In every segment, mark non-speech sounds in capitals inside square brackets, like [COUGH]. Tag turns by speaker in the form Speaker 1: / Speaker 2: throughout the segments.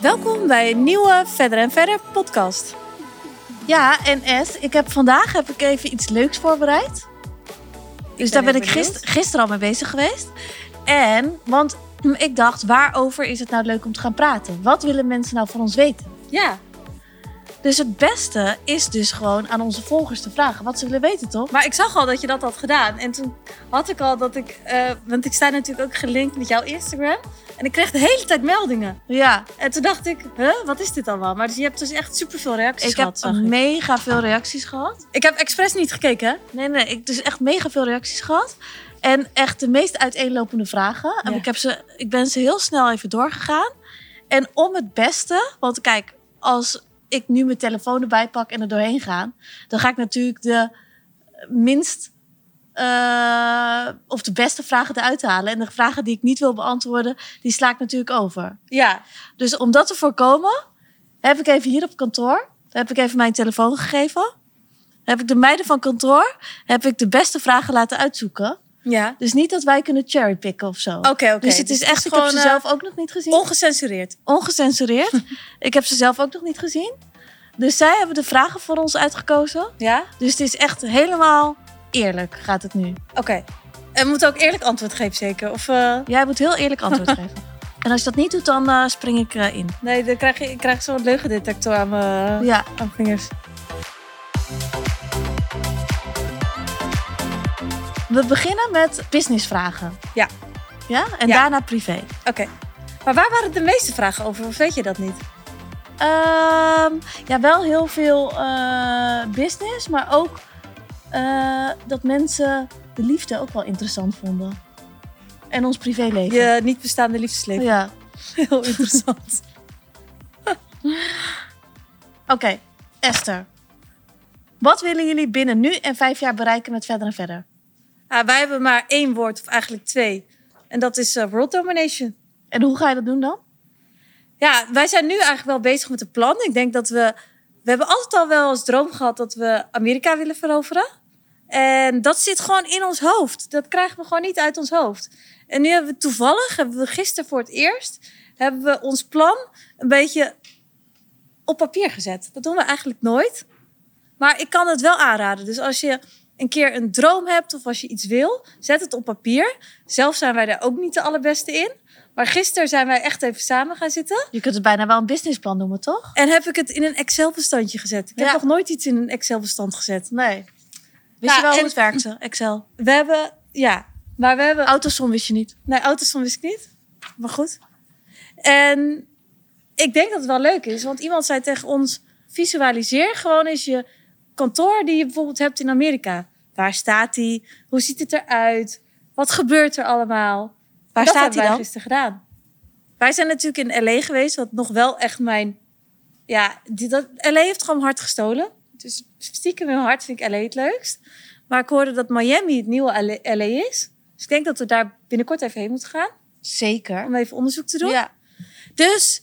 Speaker 1: Welkom bij een nieuwe Verder en Verder podcast. Ja, en S, ik heb vandaag heb ik even iets leuks voorbereid. Dus daar ben ik gister, gisteren al mee bezig geweest. En, want hm, ik dacht, waarover is het nou leuk om te gaan praten? Wat willen mensen nou van ons weten?
Speaker 2: Ja,
Speaker 1: Dus het beste is dus gewoon aan onze volgers te vragen wat ze willen weten, toch?
Speaker 2: maar ik zag al dat je dat had gedaan. En toen had ik al dat ik... eh, want ik sta natuurlijk ook gelinkt met jouw Instagram. En ik kreeg de hele tijd meldingen.
Speaker 1: Ja,
Speaker 2: En toen dacht ik, huh, wat is dit allemaal? Maar dus je hebt dus echt superveel reacties
Speaker 1: ik
Speaker 2: gehad,
Speaker 1: heb
Speaker 2: zag ik.
Speaker 1: mega veel reacties gehad.
Speaker 2: Ik heb expres niet gekeken, hè?
Speaker 1: Nee, nee, ik dus echt mega veel reacties gehad. En echt de meest uiteenlopende vragen. En
Speaker 2: Ja.
Speaker 1: ik, heb ze, ik ben ze heel snel even doorgegaan. En om het beste, want kijk, als ik nu mijn telefoon erbij pak en er doorheen ga, dan ga ik natuurlijk de minst eh, of de beste vragen eruit halen. En de vragen die ik niet wil beantwoorden, die sla ik natuurlijk over.
Speaker 2: Ja.
Speaker 1: Dus om dat te voorkomen, heb ik even hier op kantoor, heb ik even mijn telefoon gegeven. Heb ik de meiden van kantoor, heb ik de beste vragen laten uitzoeken.
Speaker 2: Ja.
Speaker 1: Dus niet dat wij kunnen cherrypicken of zo.
Speaker 2: Oké, oké.
Speaker 1: Dus het is echt, ik heb ze
Speaker 2: eh,
Speaker 1: zelf ook nog niet gezien.
Speaker 2: ongecensureerd.
Speaker 1: Ongecensureerd. ik heb ze zelf ook nog niet gezien. Dus zij hebben de vragen voor ons uitgekozen.
Speaker 2: Ja?
Speaker 1: Dus het is echt helemaal eerlijk gaat het nu.
Speaker 2: Oké. En we moeten ook eerlijk antwoord geven, zeker? Of... eh,
Speaker 1: Jij moet heel eerlijk antwoord geven. En als je dat niet doet, dan eh, spring ik eh, in.
Speaker 2: Nee, dan krijg je- ik krijg zo'n leugendetector aan mijn
Speaker 1: Ja,
Speaker 2: aan mijn vingers.
Speaker 1: we beginnen met businessvragen.
Speaker 2: Ja.
Speaker 1: Ja? En
Speaker 2: Ja.
Speaker 1: daarna privé.
Speaker 2: Oké. Maar waar waren de meeste vragen over? Of weet je dat niet?
Speaker 1: Ehm, ja, wel heel veel eh, business, maar ook eh, dat mensen de liefde ook wel interessant vonden. En ons privéleven.
Speaker 2: Je niet bestaande liefdesleven.
Speaker 1: Ja.
Speaker 2: Heel interessant. [LAUGHS]
Speaker 1: Oké, Esther. Wat willen jullie binnen nu en vijf jaar bereiken met verder en verder?
Speaker 2: Ah, wij hebben maar één woord, of eigenlijk twee. En dat is eh, world domination.
Speaker 1: En hoe ga je dat doen dan?
Speaker 2: Ja, wij zijn nu eigenlijk wel bezig met een plan. Ik denk dat we... We hebben altijd al wel als droom gehad dat we Amerika willen veroveren. En dat zit gewoon in ons hoofd. Dat krijgen we gewoon niet uit ons hoofd. En nu hebben we toevallig, hebben we gisteren voor het eerst... hebben we ons plan een beetje op papier gezet. Dat doen we eigenlijk nooit. Maar ik kan het wel aanraden. Dus als je een keer een droom hebt of als je iets wil, zet het op papier. Zelf zijn wij daar ook niet de allerbeste in. Maar gisteren zijn wij echt even samen gaan zitten.
Speaker 1: Je kunt het bijna wel een businessplan noemen, toch?
Speaker 2: En heb ik het in een Excel-bestandje gezet. Ik
Speaker 1: Ja.
Speaker 2: heb nog nooit iets in een Excel-bestand gezet.
Speaker 1: Nee. Wist
Speaker 2: Ja,
Speaker 1: je wel hoe
Speaker 2: en-
Speaker 1: het werkte, Excel?
Speaker 2: We hebben, ja, maar we hebben...
Speaker 1: Autosom wist je niet.
Speaker 2: Nee, autosom wist ik niet. Maar goed. En ik denk dat het wel leuk is. Want iemand zei tegen ons, visualiseer gewoon eens je kantoor die je bijvoorbeeld hebt in Amerika. Waar staat die? Hoe ziet het eruit? Wat gebeurt er allemaal?
Speaker 1: Waar
Speaker 2: Dat
Speaker 1: staat
Speaker 2: hebben
Speaker 1: hij
Speaker 2: wij
Speaker 1: dan?
Speaker 2: gisteren gedaan. Wij zijn natuurlijk in L.A. geweest, wat nog wel echt mijn... Ja, die, dat, L.A. heeft gewoon hard gestolen. Dus stiekem in mijn hart vind ik L.A. het leukst. Maar ik hoorde dat Miami het nieuwe L.A. is. Dus ik denk dat we daar binnenkort even heen moeten gaan.
Speaker 1: Zeker.
Speaker 2: Om even onderzoek te doen.
Speaker 1: Ja.
Speaker 2: Dus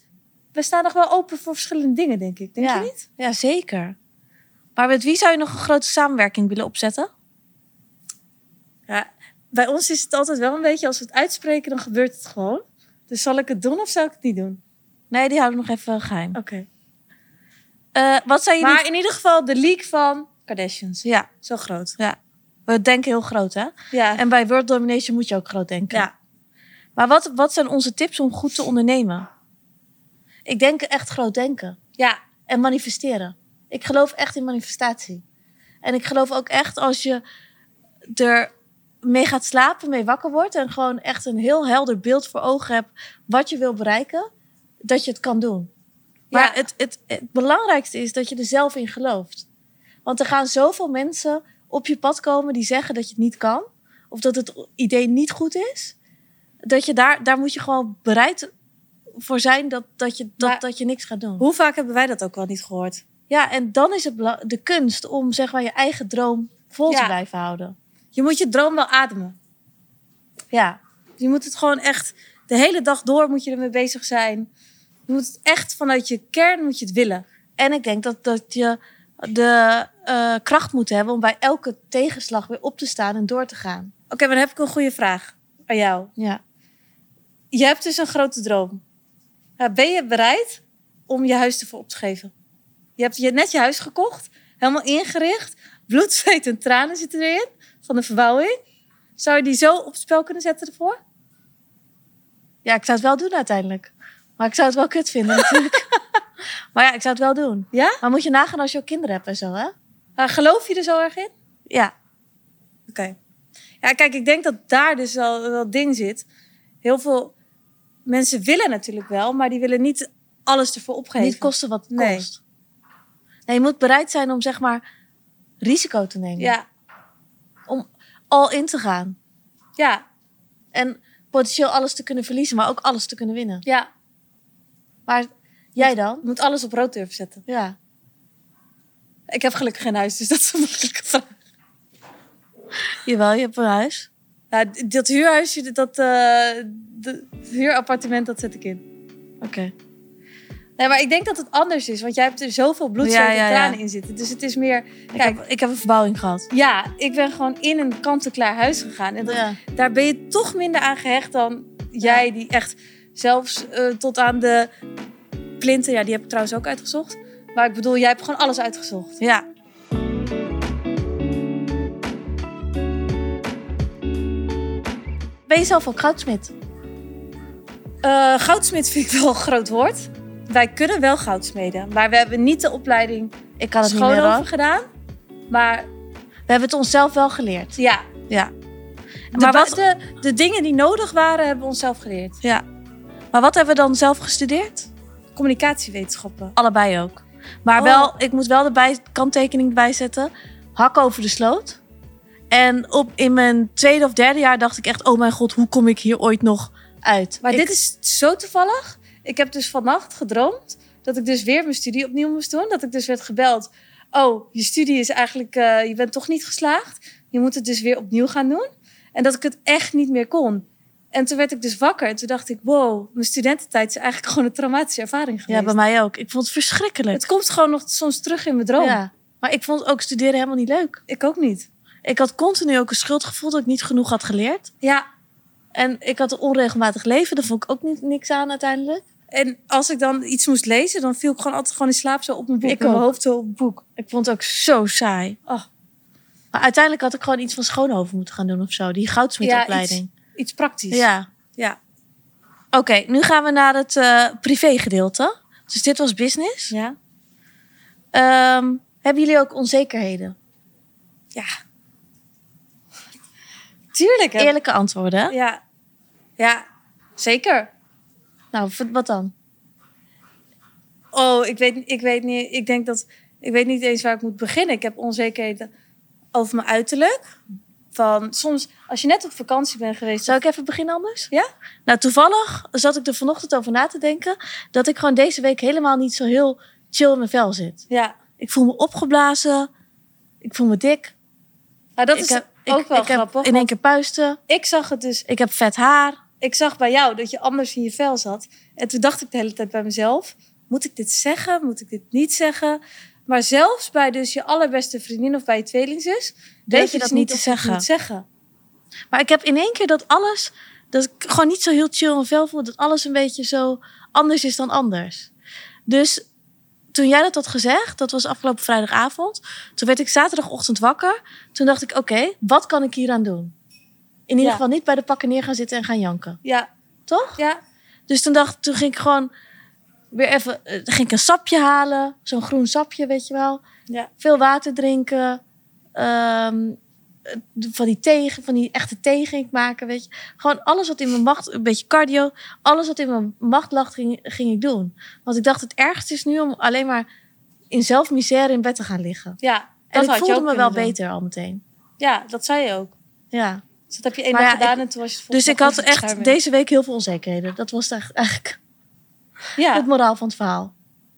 Speaker 2: we staan nog wel open voor verschillende dingen, denk ik. Denk
Speaker 1: ja.
Speaker 2: je niet?
Speaker 1: Ja, zeker. Maar met wie zou je nog een grote samenwerking willen opzetten?
Speaker 2: Ja. Bij ons is het altijd wel een beetje, als we het uitspreken, dan gebeurt het gewoon. Dus zal ik het doen of zal ik het niet doen?
Speaker 1: Nee, die houden we nog even geheim.
Speaker 2: Oké.
Speaker 1: Eh, wat zijn jullie...
Speaker 2: Maar in ieder geval de leak van Kardashians.
Speaker 1: Ja,
Speaker 2: Zo groot.
Speaker 1: we denken heel groot, hè?
Speaker 2: Ja.
Speaker 1: En bij World Domination moet je ook groot denken.
Speaker 2: ja.
Speaker 1: Maar wat, wat zijn onze tips om goed te ondernemen? Ik denk echt groot denken.
Speaker 2: ja.
Speaker 1: En manifesteren. Ik geloof echt in manifestatie. En ik geloof ook echt als je er mee gaat slapen, mee wakker wordt... en gewoon echt een heel helder beeld voor ogen hebt... wat je wil bereiken, dat je het kan doen. Maar
Speaker 2: Ja.
Speaker 1: het, het, het belangrijkste is dat je er zelf in gelooft. Want er gaan zoveel mensen op je pad komen die zeggen dat je het niet kan. Of dat het idee niet goed is. Dat je daar, daar moet je gewoon bereid voor zijn dat, dat, je, dat,
Speaker 2: Maar-
Speaker 1: dat je niks gaat doen.
Speaker 2: Hoe vaak hebben wij dat ook wel niet gehoord?
Speaker 1: Ja, en dan is het bela- de kunst om zeg maar je eigen droom vol te
Speaker 2: Ja.
Speaker 1: blijven houden.
Speaker 2: Je moet je droom wel ademen.
Speaker 1: Ja,
Speaker 2: Je moet het gewoon echt de hele dag door moet je ermee bezig zijn. Je moet het echt vanuit je kern moet je het willen.
Speaker 1: en ik denk dat, dat je de eh, kracht moet hebben om bij elke tegenslag weer op te staan en door te gaan.
Speaker 2: Oké, maar dan heb ik een goede vraag aan jou.
Speaker 1: Ja.
Speaker 2: Je hebt dus een grote droom. Nou, Ben je bereid om je huis ervoor op te geven. Je hebt je, net je huis gekocht, helemaal ingericht. Bloed, zweet en tranen zitten erin van de verbouwing. Zou je die zo op het spel kunnen zetten ervoor?
Speaker 1: Ja, ik zou het wel doen uiteindelijk. Maar ik zou het wel kut vinden natuurlijk. maar ja, ik zou het wel doen.
Speaker 2: Ja?
Speaker 1: Maar moet je nagaan als je ook kinderen hebt en zo, hè?
Speaker 2: Maar geloof je er zo erg in?
Speaker 1: Ja.
Speaker 2: Oké. Ja, kijk, ik denk dat daar dus wel wel het ding zit. Heel veel mensen willen natuurlijk wel, maar die willen niet alles ervoor opgeven.
Speaker 1: Niet kosten wat het
Speaker 2: Nee.
Speaker 1: kost. Nee, je moet bereid zijn om zeg maar risico te nemen.
Speaker 2: Ja,
Speaker 1: Om al in te gaan.
Speaker 2: ja,
Speaker 1: En potentieel alles te kunnen verliezen, maar ook alles te kunnen winnen.
Speaker 2: ja.
Speaker 1: Maar jij dan?
Speaker 2: Je moet alles op rood durven zetten.
Speaker 1: Ja.
Speaker 2: Ik heb gelukkig geen huis, dus dat is een makkelijke vraag.
Speaker 1: Jawel, je hebt een huis.
Speaker 2: Ja, d- dat huurhuisje, dat eh, d- huurappartement, dat zet ik in.
Speaker 1: Oké.
Speaker 2: Nee, maar ik denk dat het anders is, want jij hebt er zoveel
Speaker 1: Ja,
Speaker 2: bloed, zweet en
Speaker 1: ja, ja.
Speaker 2: tranen in zitten. Dus het is meer,
Speaker 1: Ik,
Speaker 2: Kijk.
Speaker 1: heb, ik heb een verbouwing gehad.
Speaker 2: ja, ik ben gewoon in een kant-en-klaar huis gegaan. En dat,
Speaker 1: Ja.
Speaker 2: daar ben je toch minder aan gehecht dan jij, die echt zelfs eh, tot aan de plinten, ja, die heb ik trouwens ook uitgezocht. Maar ik bedoel, jij hebt gewoon alles uitgezocht.
Speaker 1: ja. Ben je zelf ook goudsmid?
Speaker 2: Eh, goudsmid vind ik wel een groot woord. Wij kunnen wel goudsmeden, maar we hebben niet de opleiding
Speaker 1: Ik kan het niet meer hoor.
Speaker 2: schoonhoven gedaan. Maar
Speaker 1: We hebben het onszelf wel geleerd.
Speaker 2: ja,
Speaker 1: Ja.
Speaker 2: de,
Speaker 1: Maar
Speaker 2: bas-
Speaker 1: wat-
Speaker 2: de, de dingen die nodig waren, hebben we onszelf geleerd.
Speaker 1: Ja. Maar wat hebben we dan zelf gestudeerd?
Speaker 2: Communicatiewetenschappen.
Speaker 1: Allebei ook. Maar
Speaker 2: Oh.
Speaker 1: wel, ik moet wel de bij, kanttekening erbij zetten. Hak over de sloot. En op, in mijn tweede of derde jaar dacht ik echt... oh mijn god, hoe kom ik hier ooit nog uit?
Speaker 2: Maar
Speaker 1: Ik-
Speaker 2: dit is zo toevallig. Ik heb dus vannacht gedroomd dat ik dus weer mijn studie opnieuw moest doen. Dat ik dus werd gebeld. Oh, je studie is eigenlijk, eh, je bent toch niet geslaagd. Je moet het dus weer opnieuw gaan doen. En dat ik het echt niet meer kon. En toen werd ik dus wakker en toen dacht ik, wow, mijn studententijd is eigenlijk [LAUGHS] gewoon een traumatische ervaring geweest.
Speaker 1: Ja, bij mij ook. Ik vond het verschrikkelijk.
Speaker 2: Het komt gewoon nog soms terug in mijn droom.
Speaker 1: Ja. Maar ik vond ook studeren helemaal niet leuk.
Speaker 2: Ik ook niet.
Speaker 1: Ik had continu ook een schuldgevoel dat ik niet genoeg had geleerd.
Speaker 2: Ja,
Speaker 1: En ik had een onregelmatig leven. Daar vond ik ook niet, niks aan uiteindelijk.
Speaker 2: en als ik dan iets moest lezen, dan viel ik gewoon altijd gewoon in slaap zo op mijn boek.
Speaker 1: Ik
Speaker 2: met mijn
Speaker 1: ook.
Speaker 2: hoofd zo op het boek.
Speaker 1: Ik vond het ook zo saai.
Speaker 2: Oh,
Speaker 1: Maar uiteindelijk had ik gewoon iets van Schoonhoven moeten gaan doen of zo. Die goudsmidopleiding.
Speaker 2: iets praktisch.
Speaker 1: Ja.
Speaker 2: ja.
Speaker 1: Oké, nu gaan we naar het eh privégedeelte. Dus dit was business.
Speaker 2: Ja.
Speaker 1: Ehm, hebben jullie ook onzekerheden?
Speaker 2: Ja. Tuurlijk. hè?
Speaker 1: Eerlijke antwoorden. hè?
Speaker 2: Ja. Ja, zeker.
Speaker 1: Nou, v- wat dan?
Speaker 2: Oh, ik weet, ik weet niet. Ik denk dat. Ik weet niet eens waar ik moet beginnen. Ik heb onzekerheden over mijn uiterlijk. Van soms, als je net op vakantie bent geweest.
Speaker 1: Zal ik even beginnen anders?
Speaker 2: Ja?
Speaker 1: Nou, toevallig zat ik er vanochtend over na te denken... dat ik gewoon deze week helemaal niet zo heel chill in mijn vel zit.
Speaker 2: Ja.
Speaker 1: Ik voel me opgeblazen. Ik voel me dik.
Speaker 2: Nou, dat
Speaker 1: ik
Speaker 2: is
Speaker 1: heb-
Speaker 2: ook
Speaker 1: ik,
Speaker 2: wel
Speaker 1: ik
Speaker 2: grappig.
Speaker 1: Heb in één
Speaker 2: want
Speaker 1: keer puisten.
Speaker 2: Ik zag het dus.
Speaker 1: Ik heb vet haar.
Speaker 2: Ik zag bij jou dat je anders in je vel zat. En toen dacht ik de hele tijd bij mezelf: moet ik dit zeggen? Moet ik dit niet zeggen? Maar zelfs bij dus je allerbeste vriendin of bij je tweelingzus, weet
Speaker 1: je dat
Speaker 2: je dus
Speaker 1: niet
Speaker 2: niet
Speaker 1: te
Speaker 2: of je het
Speaker 1: zeggen.
Speaker 2: moet zeggen.
Speaker 1: Maar ik heb in één keer dat alles, dat ik gewoon niet zo heel chill en vel voel, dat alles een beetje zo anders is dan anders. Dus toen jij dat had gezegd, dat was afgelopen vrijdagavond, toen werd ik zaterdagochtend wakker. Toen dacht ik, oké, wat kan ik hieraan doen? In ieder
Speaker 2: Ja.
Speaker 1: geval niet bij de pakken neer gaan zitten en gaan janken,
Speaker 2: Ja,
Speaker 1: toch?
Speaker 2: ja,
Speaker 1: Dus toen dacht, toen ging ik gewoon weer even, eh, ging ik een sapje halen, zo'n groen sapje, weet je wel
Speaker 2: ja.
Speaker 1: veel water drinken. ehm, eh, van die tegen, van die echte thee ging ik maken, weet je. Gewoon alles wat in mijn macht, een beetje cardio, alles wat in mijn macht lag, ging, ging ik doen. Want ik dacht, het ergste is nu om alleen maar in zelfmisère in bed te gaan liggen.
Speaker 2: ja.
Speaker 1: En ik
Speaker 2: had je
Speaker 1: voelde
Speaker 2: ook
Speaker 1: me wel
Speaker 2: kunnen doen.
Speaker 1: beter al meteen.
Speaker 2: Ja, dat zei je ook.
Speaker 1: Ja.
Speaker 2: Dus dat heb je eenmaal
Speaker 1: Maar ja,
Speaker 2: gedaan en toen was je het
Speaker 1: Dus
Speaker 2: volgende
Speaker 1: ik had
Speaker 2: dag weer
Speaker 1: echt
Speaker 2: schermen.
Speaker 1: deze week heel veel onzekerheden. Dat was echt- eigenlijk het
Speaker 2: Ja,
Speaker 1: moraal van het verhaal.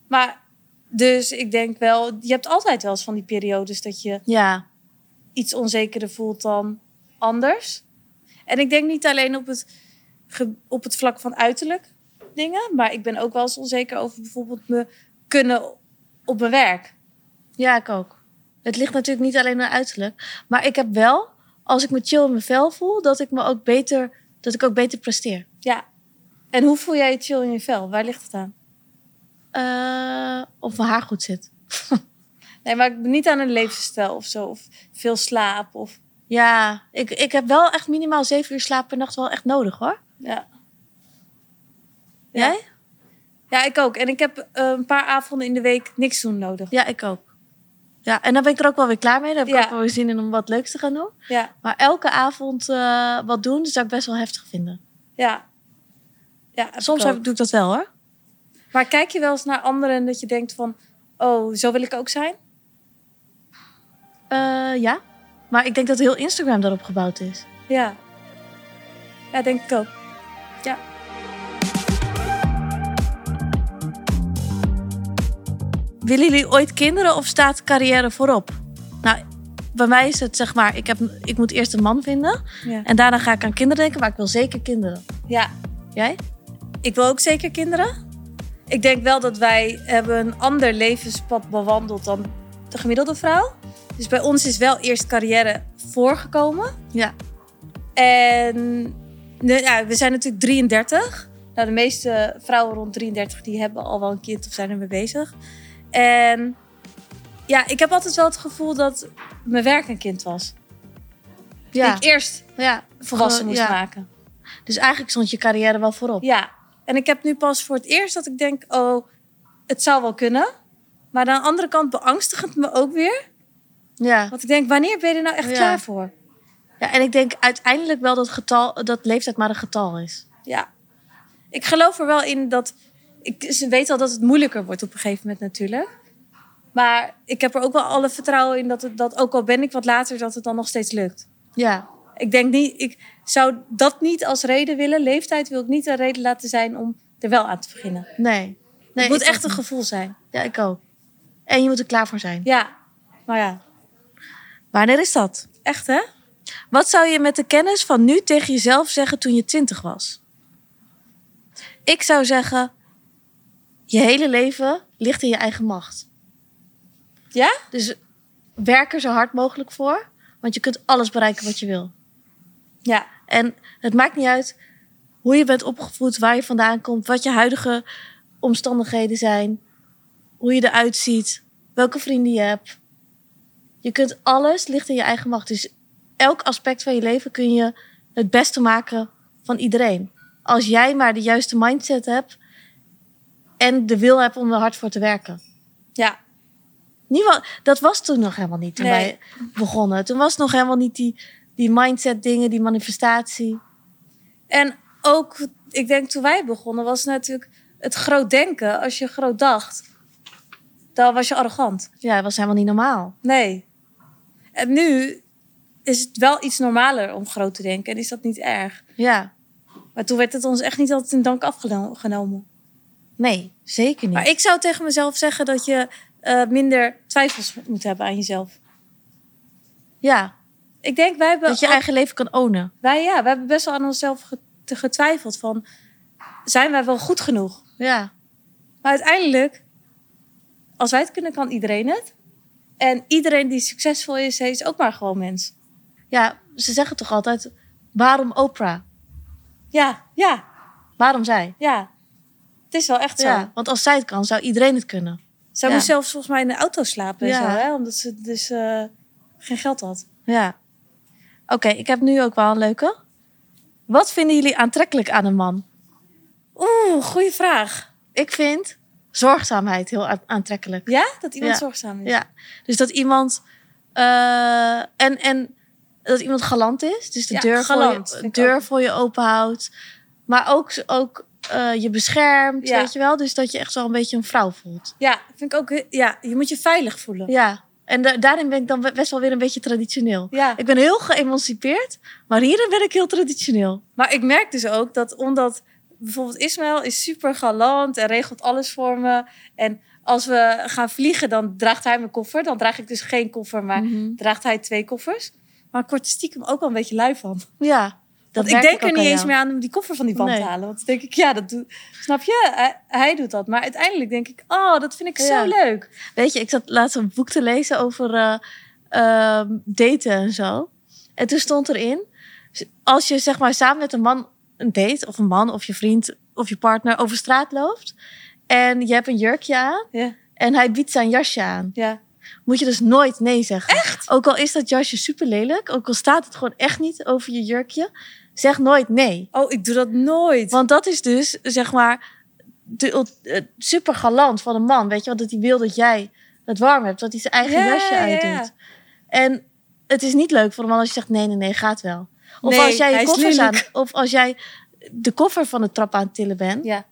Speaker 2: maar dus ik denk wel, je hebt altijd wel eens van die periodes dat je
Speaker 1: Ja.
Speaker 2: iets onzekerder voelt dan anders. En ik denk niet alleen op het, ge- op het vlak van uiterlijk dingen, maar ik ben ook wel eens onzeker over bijvoorbeeld me kunnen op mijn werk.
Speaker 1: Ja, ik ook. Het ligt natuurlijk niet alleen aan uiterlijk. Maar ik heb wel, als ik me chill in mijn vel voel, dat ik me ook beter, dat ik ook beter presteer.
Speaker 2: Ja. En hoe voel jij je chill in je vel? Waar ligt het aan?
Speaker 1: eh, of mijn haar goed zit.
Speaker 2: Nee, maar ik ben niet aan een levensstijl of zo. Of veel slaap. Of,
Speaker 1: Ja, ik, ik heb wel echt minimaal zeven uur slaap per nacht wel echt nodig hoor.
Speaker 2: ja.
Speaker 1: Jij?
Speaker 2: Ja, ik ook. En ik heb eh, een paar avonden in de week niks doen nodig.
Speaker 1: Ja, ik ook. Ja, en dan ben ik er ook wel weer klaar mee. Dan heb ik
Speaker 2: Ja.
Speaker 1: ook wel weer zin in om wat leuks te gaan doen.
Speaker 2: Ja,
Speaker 1: Maar elke avond eh, wat doen, dat zou ik best wel heftig vinden.
Speaker 2: ja. ja heb
Speaker 1: Soms
Speaker 2: ik
Speaker 1: heb,
Speaker 2: ook.
Speaker 1: doe ik dat wel hoor.
Speaker 2: Maar kijk je wel eens naar anderen en dat je denkt van... Oh, zo wil ik ook zijn?
Speaker 1: Eh, ja. Maar ik denk dat heel Instagram daarop gebouwd is.
Speaker 2: Ja. Ja, denk ik ook.
Speaker 1: Willen jullie ooit kinderen of staat carrière voorop? Nou, bij mij is het zeg maar, ik, heb, ik moet eerst een man vinden.
Speaker 2: Ja.
Speaker 1: En daarna ga ik aan kinderen denken, maar ik wil zeker kinderen.
Speaker 2: ja.
Speaker 1: Jij?
Speaker 2: Ik wil ook zeker kinderen. Ik denk wel dat wij hebben een ander levenspad bewandeld dan de gemiddelde vrouw. Dus bij ons is wel eerst carrière voorgekomen.
Speaker 1: Ja.
Speaker 2: En nou ja, we zijn natuurlijk 33. Nou, de meeste vrouwen rond 33 die hebben al wel een kind of zijn ermee bezig. En ja, ik heb altijd wel het gevoel dat mijn werk een kind was.
Speaker 1: Ja.
Speaker 2: Ik eerst
Speaker 1: ja.
Speaker 2: volwassen
Speaker 1: Gewoon,
Speaker 2: moest
Speaker 1: ja.
Speaker 2: maken.
Speaker 1: Dus eigenlijk stond je carrière wel voorop.
Speaker 2: Ja, en ik heb nu pas voor het eerst dat ik denk, oh, het zou wel kunnen. Maar aan de andere kant beangstigend me ook weer.
Speaker 1: Ja.
Speaker 2: Want ik denk, wanneer ben je er nou echt
Speaker 1: Ja.
Speaker 2: klaar voor?
Speaker 1: ja. En ik denk uiteindelijk wel dat, getal, dat leeftijd maar een getal is.
Speaker 2: Ja. Ik geloof er wel in dat... Ik ze weet al dat het moeilijker wordt op een gegeven moment natuurlijk. Maar ik heb er ook wel alle vertrouwen in dat, het, dat ook al ben ik wat later, dat het dan nog steeds lukt.
Speaker 1: Ja.
Speaker 2: Ik denk niet, ik zou dat niet als reden willen. Leeftijd wil ik niet een reden laten zijn om er wel aan te beginnen.
Speaker 1: Nee. nee
Speaker 2: het moet
Speaker 1: ik
Speaker 2: echt
Speaker 1: ook
Speaker 2: een gevoel zijn.
Speaker 1: niet. Ja, ik ook. En je moet er klaar voor zijn.
Speaker 2: Ja, maar ja,
Speaker 1: Wanneer is dat?
Speaker 2: echt hè?
Speaker 1: Wat zou je met de kennis van nu tegen jezelf zeggen toen je twintig was? Ik zou zeggen, je hele leven ligt in je eigen macht.
Speaker 2: Ja?
Speaker 1: Dus werk er zo hard mogelijk voor, want je kunt alles bereiken wat je wil.
Speaker 2: Ja,
Speaker 1: En het maakt niet uit hoe je bent opgevoed, waar je vandaan komt, wat je huidige omstandigheden zijn, hoe je eruit ziet, welke vrienden je hebt. Je kunt alles ligt in je eigen macht. Dus elk aspect van je leven kun je het beste maken van iedereen. Als jij maar de juiste mindset hebt en de wil hebt om er hard voor te werken.
Speaker 2: ja,
Speaker 1: Niemand, dat was toen nog helemaal niet toen
Speaker 2: Nee.
Speaker 1: wij begonnen. Toen was nog helemaal niet die, die mindset dingen, die manifestatie.
Speaker 2: En ook, ik denk toen wij begonnen, was natuurlijk het groot denken. Als je groot dacht, dan was je arrogant.
Speaker 1: Ja, dat was helemaal niet normaal.
Speaker 2: Nee. En nu is het wel iets normaler om groot te denken en is dat niet erg.
Speaker 1: Ja,
Speaker 2: Maar toen werd het ons echt niet altijd in dank afgenomen.
Speaker 1: nee, zeker niet.
Speaker 2: Maar ik zou tegen mezelf zeggen dat je eh, minder twijfels moet hebben aan jezelf.
Speaker 1: ja,
Speaker 2: Ik denk, wij hebben
Speaker 1: dat je eigen leven kan ownen.
Speaker 2: Wij, ja, we hebben best wel aan onszelf ge- te- getwijfeld van... zijn wij wel goed genoeg?
Speaker 1: Ja,
Speaker 2: Maar uiteindelijk, als wij het kunnen, kan iedereen het. En iedereen die succesvol is, hij is ook maar gewoon mens.
Speaker 1: ja ze zeggen toch altijd, waarom Oprah?
Speaker 2: Ja, ja,
Speaker 1: Waarom zij?
Speaker 2: ja. Het is wel echt zo.
Speaker 1: Ja, want als zij het kan, zou iedereen het kunnen.
Speaker 2: Zij
Speaker 1: Ja.
Speaker 2: moest zelfs volgens mij in de auto slapen en
Speaker 1: Ja.
Speaker 2: zo, hè? omdat ze dus eh, geen geld had.
Speaker 1: Ja. Oké, ik heb nu ook wel een leuke. Wat vinden jullie aantrekkelijk aan een man?
Speaker 2: Oeh, goede vraag.
Speaker 1: Ik vind zorgzaamheid heel a- aantrekkelijk.
Speaker 2: Ja? Dat iemand
Speaker 1: Ja.
Speaker 2: zorgzaam is.
Speaker 1: Ja, dus dat iemand... eh, en, en dat iemand galant is. Dus de
Speaker 2: Ja,
Speaker 1: deur,
Speaker 2: galant,
Speaker 1: voor, je,
Speaker 2: vind ik
Speaker 1: deur
Speaker 2: ook.
Speaker 1: voor je open houdt. Maar ook, ook eh, je beschermt,
Speaker 2: Ja.
Speaker 1: weet je wel. Dus dat je echt wel een beetje een vrouw voelt.
Speaker 2: Ja, vind ik ook. he- Ja, je moet je veilig voelen.
Speaker 1: Ja, en da- daarin ben ik dan we- best wel weer een beetje traditioneel.
Speaker 2: Ja.
Speaker 1: Ik ben heel geëmancipeerd, maar hierin ben ik heel traditioneel.
Speaker 2: Maar ik merk dus ook dat omdat bijvoorbeeld Ismaël is super galant en regelt alles voor me. En als we gaan vliegen, dan draagt hij mijn koffer. Dan draag ik dus geen koffer, maar
Speaker 1: Mhm.
Speaker 2: draagt hij twee koffers. Maar ik word er stiekem ook wel een beetje lui van.
Speaker 1: Ja, dat
Speaker 2: want
Speaker 1: merk
Speaker 2: ik denk
Speaker 1: ook
Speaker 2: er niet
Speaker 1: aan
Speaker 2: eens
Speaker 1: jou.
Speaker 2: meer aan om die koffer van die band
Speaker 1: Nee.
Speaker 2: te halen. Want dan denk ik, ja, dat doe, snap je? Hij, hij doet dat. Maar uiteindelijk denk ik, oh, dat vind ik
Speaker 1: Ja.
Speaker 2: zo leuk.
Speaker 1: Weet je, ik zat laatst een boek te lezen over eh, ehm, daten en zo. En toen stond erin, als je zeg maar samen met een man een date, of een man, of je vriend, of je partner over straat loopt. En je hebt een jurkje aan.
Speaker 2: Ja.
Speaker 1: En hij biedt zijn jasje aan.
Speaker 2: Ja.
Speaker 1: Moet je dus nooit nee zeggen. Echt? Ook al is dat jasje super lelijk. Ook al staat het gewoon echt niet over je jurkje. Zeg nooit nee.
Speaker 2: Oh, ik doe dat nooit.
Speaker 1: Want dat is dus, zeg maar, de, ult- eh, super galant van een man. Weet je wel, dat hij wil dat jij het warm hebt. Dat hij zijn eigen
Speaker 2: Ja,
Speaker 1: jasje
Speaker 2: ja,
Speaker 1: uitdoet.
Speaker 2: ja.
Speaker 1: En het is niet leuk voor een man als je zegt: nee, nee, nee, gaat wel. Of
Speaker 2: Nee,
Speaker 1: als jij
Speaker 2: hij
Speaker 1: je
Speaker 2: is
Speaker 1: koffers aan,
Speaker 2: lelijk.
Speaker 1: of als jij de koffer van de trap aan het tillen bent.
Speaker 2: Ja.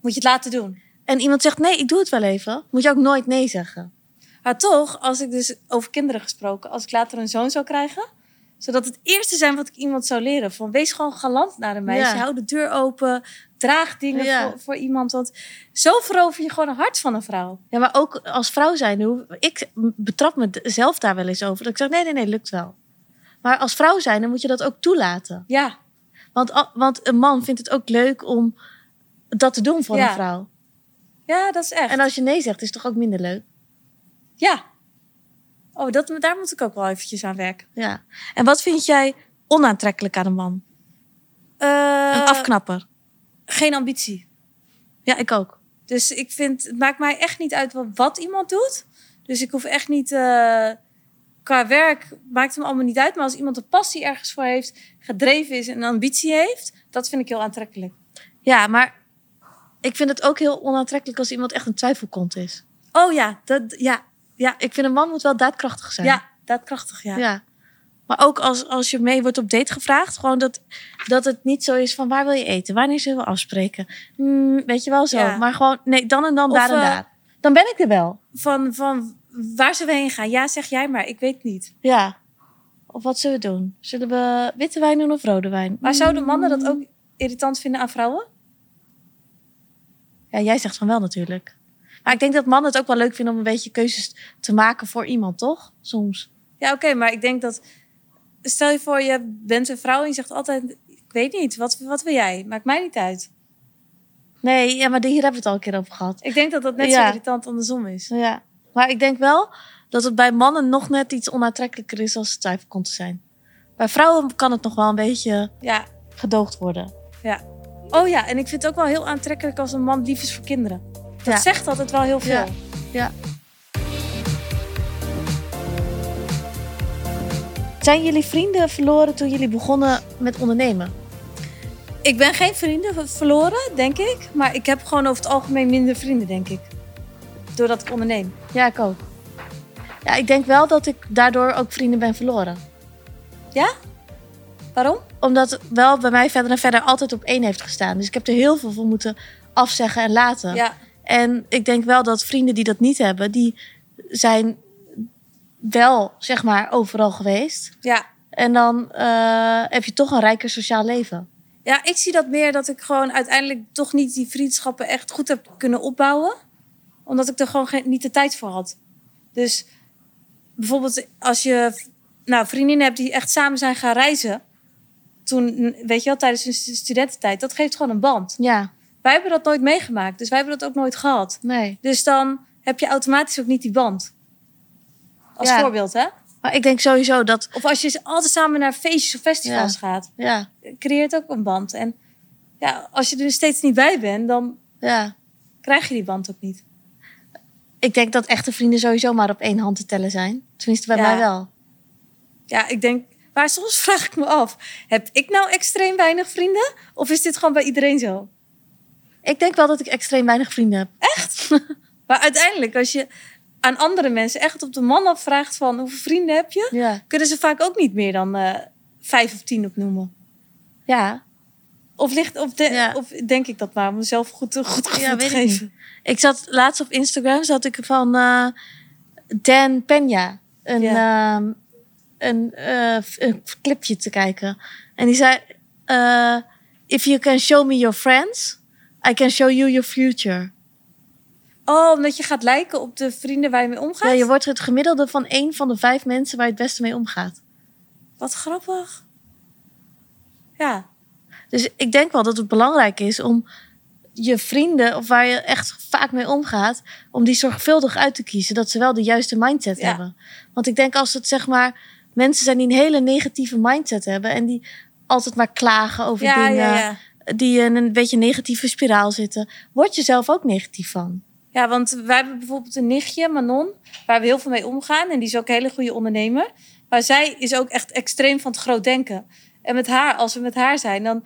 Speaker 2: Moet je het laten doen.
Speaker 1: En iemand zegt: nee, ik doe het wel even. Moet je ook nooit nee zeggen.
Speaker 2: Maar toch, als ik dus over kinderen gesproken, als ik later een zoon zou krijgen, zodat het eerste zijn wat ik iemand zou leren: van wees gewoon galant naar een meisje,
Speaker 1: Ja.
Speaker 2: hou de deur open, draag dingen
Speaker 1: Ja.
Speaker 2: voor, voor iemand. Want zo verover je gewoon een hart van een vrouw.
Speaker 1: Ja, maar ook als vrouw zijn, hoe, ik betrap mezelf daar wel eens over. Dat ik zeg, nee, nee, nee, lukt wel. Maar als vrouw zijn, dan moet je dat ook toelaten.
Speaker 2: Ja,
Speaker 1: Want, a- want een man vindt het ook leuk om dat te doen voor
Speaker 2: Ja,
Speaker 1: een vrouw.
Speaker 2: ja dat is echt.
Speaker 1: En als je nee zegt, is het toch ook minder leuk?
Speaker 2: Ja. Oh, dat, daar moet ik ook wel eventjes aan werken.
Speaker 1: Ja. En wat vind jij onaantrekkelijk aan een man?
Speaker 2: Eh,
Speaker 1: Een afknapper.
Speaker 2: geen ambitie.
Speaker 1: Ja, ik ook.
Speaker 2: Dus ik vind, het maakt mij echt niet uit wat, wat iemand doet. Dus ik hoef echt niet, eh, qua werk maakt het me allemaal niet uit. Maar als iemand een passie ergens voor heeft, gedreven is en een ambitie heeft, dat vind ik heel aantrekkelijk.
Speaker 1: Ja, maar ik vind het ook heel onaantrekkelijk als iemand echt een twijfelkont is.
Speaker 2: Oh ja, dat, ja,
Speaker 1: Ja, ik vind een man moet wel daadkrachtig zijn.
Speaker 2: ja, daadkrachtig, ja.
Speaker 1: Ja. Maar ook als, als je mee wordt op date gevraagd, gewoon dat, dat het niet zo is van waar wil je eten, wanneer zullen we afspreken. Hmm, weet je wel zo.
Speaker 2: Ja.
Speaker 1: Maar gewoon, nee, dan en dan,
Speaker 2: Of,
Speaker 1: daar en
Speaker 2: eh,
Speaker 1: daar. Dan ben ik er wel.
Speaker 2: Van, van waar zullen we heen gaan? Ja, zeg jij maar, ik weet niet.
Speaker 1: Ja. Of wat zullen we doen? Zullen we witte wijn doen of rode wijn?
Speaker 2: Maar zouden
Speaker 1: Hmm.
Speaker 2: mannen dat ook irritant vinden aan vrouwen?
Speaker 1: Ja, jij zegt van wel natuurlijk. Maar ik denk dat mannen het ook wel leuk vinden om een beetje keuzes te maken voor iemand, toch? Soms.
Speaker 2: Ja, oké, maar ik denk dat. Stel je voor, je bent een vrouw en je zegt altijd: Ik weet niet, wat, wat wil jij? Maakt mij niet uit.
Speaker 1: Nee, ja, maar hier hebben we het al een keer over gehad.
Speaker 2: Ik denk dat dat net
Speaker 1: Ja.
Speaker 2: zo irritant andersom is.
Speaker 1: Ja. Maar ik denk wel dat het bij mannen nog net iets onaantrekkelijker is als het twijfelkont te zijn. Bij vrouwen kan het nog wel een beetje
Speaker 2: Ja.
Speaker 1: gedoogd worden.
Speaker 2: Oh ja, en ik vind het ook wel heel aantrekkelijk als een man lief is voor kinderen. Dat
Speaker 1: Ja.
Speaker 2: zegt altijd wel heel veel.
Speaker 1: Ja. Ja. Zijn jullie vrienden verloren toen jullie begonnen met ondernemen?
Speaker 2: Ik ben geen vrienden v- verloren, denk ik. Maar ik heb gewoon over het algemeen minder vrienden, denk ik. Doordat ik onderneem.
Speaker 1: Ja, ik ook. Ja, ik denk wel dat ik daardoor ook vrienden ben verloren.
Speaker 2: Waarom?
Speaker 1: Omdat het wel bij mij verder en verder altijd op één heeft gestaan. Dus ik heb er heel veel voor moeten afzeggen en laten.
Speaker 2: Ja.
Speaker 1: En ik denk wel dat vrienden die dat niet hebben, die zijn wel, zeg maar, overal geweest.
Speaker 2: ja.
Speaker 1: En dan eh, heb je toch een rijker sociaal leven.
Speaker 2: Ja, ik zie dat meer dat ik gewoon uiteindelijk toch niet die vriendschappen echt goed heb kunnen opbouwen. Omdat ik er gewoon geen, niet de tijd voor had. Dus bijvoorbeeld als je nou, vriendinnen hebt die echt samen zijn gaan reizen. Toen, weet je wel, tijdens hun stu- studententijd. Dat geeft gewoon een band.
Speaker 1: Ja,
Speaker 2: Wij hebben dat nooit meegemaakt. Dus wij hebben dat ook nooit gehad.
Speaker 1: nee.
Speaker 2: Dus dan heb je automatisch ook niet die band. Als
Speaker 1: Ja.
Speaker 2: voorbeeld, hè?
Speaker 1: Maar ik denk sowieso dat,
Speaker 2: Of als je altijd samen naar feestjes of festivals
Speaker 1: Ja.
Speaker 2: gaat
Speaker 1: ja,
Speaker 2: creëert ook een band. En ja, als je er dus steeds niet bij bent, dan
Speaker 1: ja.
Speaker 2: krijg je die band ook niet.
Speaker 1: Ik denk dat echte vrienden sowieso maar op één hand te tellen zijn. Tenminste, bij
Speaker 2: Ja.
Speaker 1: mij wel.
Speaker 2: Ja, ik denk, maar soms [LAUGHS] vraag ik me af: heb ik nou extreem weinig vrienden? Of is dit gewoon bij iedereen zo?
Speaker 1: Ik denk wel dat ik extreem weinig vrienden heb.
Speaker 2: Maar uiteindelijk, als je aan andere mensen echt op de man afvraagt van hoeveel vrienden heb je,
Speaker 1: Ja.
Speaker 2: kunnen ze vaak ook niet meer dan eh, vijf of tien opnoemen.
Speaker 1: Ja,
Speaker 2: Of, ligt, of, de-
Speaker 1: Ja.
Speaker 2: of denk ik dat maar om mezelf goed, goed gevoel
Speaker 1: ja
Speaker 2: te
Speaker 1: weet ik
Speaker 2: geven.
Speaker 1: niet. Ik zat laatst op Instagram, zat ik van eh, Dan Peña een, ehm, een, eh, f- een clipje te kijken. En die zei, eh, if you can show me your friends, I can show you your future.
Speaker 2: Oh, omdat je gaat lijken op de vrienden waar je mee
Speaker 1: Ja,
Speaker 2: omgaat?
Speaker 1: je wordt het gemiddelde van één van de vijf mensen waar je het beste mee omgaat.
Speaker 2: Wat grappig. Ja.
Speaker 1: Dus ik denk wel dat het belangrijk is om je vrienden, of waar je echt vaak mee omgaat, om die zorgvuldig uit te kiezen. Dat ze wel de juiste mindset
Speaker 2: Ja.
Speaker 1: hebben. Want ik denk als het zeg maar mensen zijn die een hele negatieve mindset hebben en die altijd maar klagen over
Speaker 2: Ja,
Speaker 1: dingen.
Speaker 2: ja, ja.
Speaker 1: die in een beetje negatieve spiraal zitten, word je zelf ook negatief van.
Speaker 2: Ja, want wij hebben bijvoorbeeld een nichtje, Manon, waar we heel veel mee omgaan. En die is ook een hele goede ondernemer. Maar zij is ook echt extreem van het groot denken. En met haar, als we met haar zijn, dan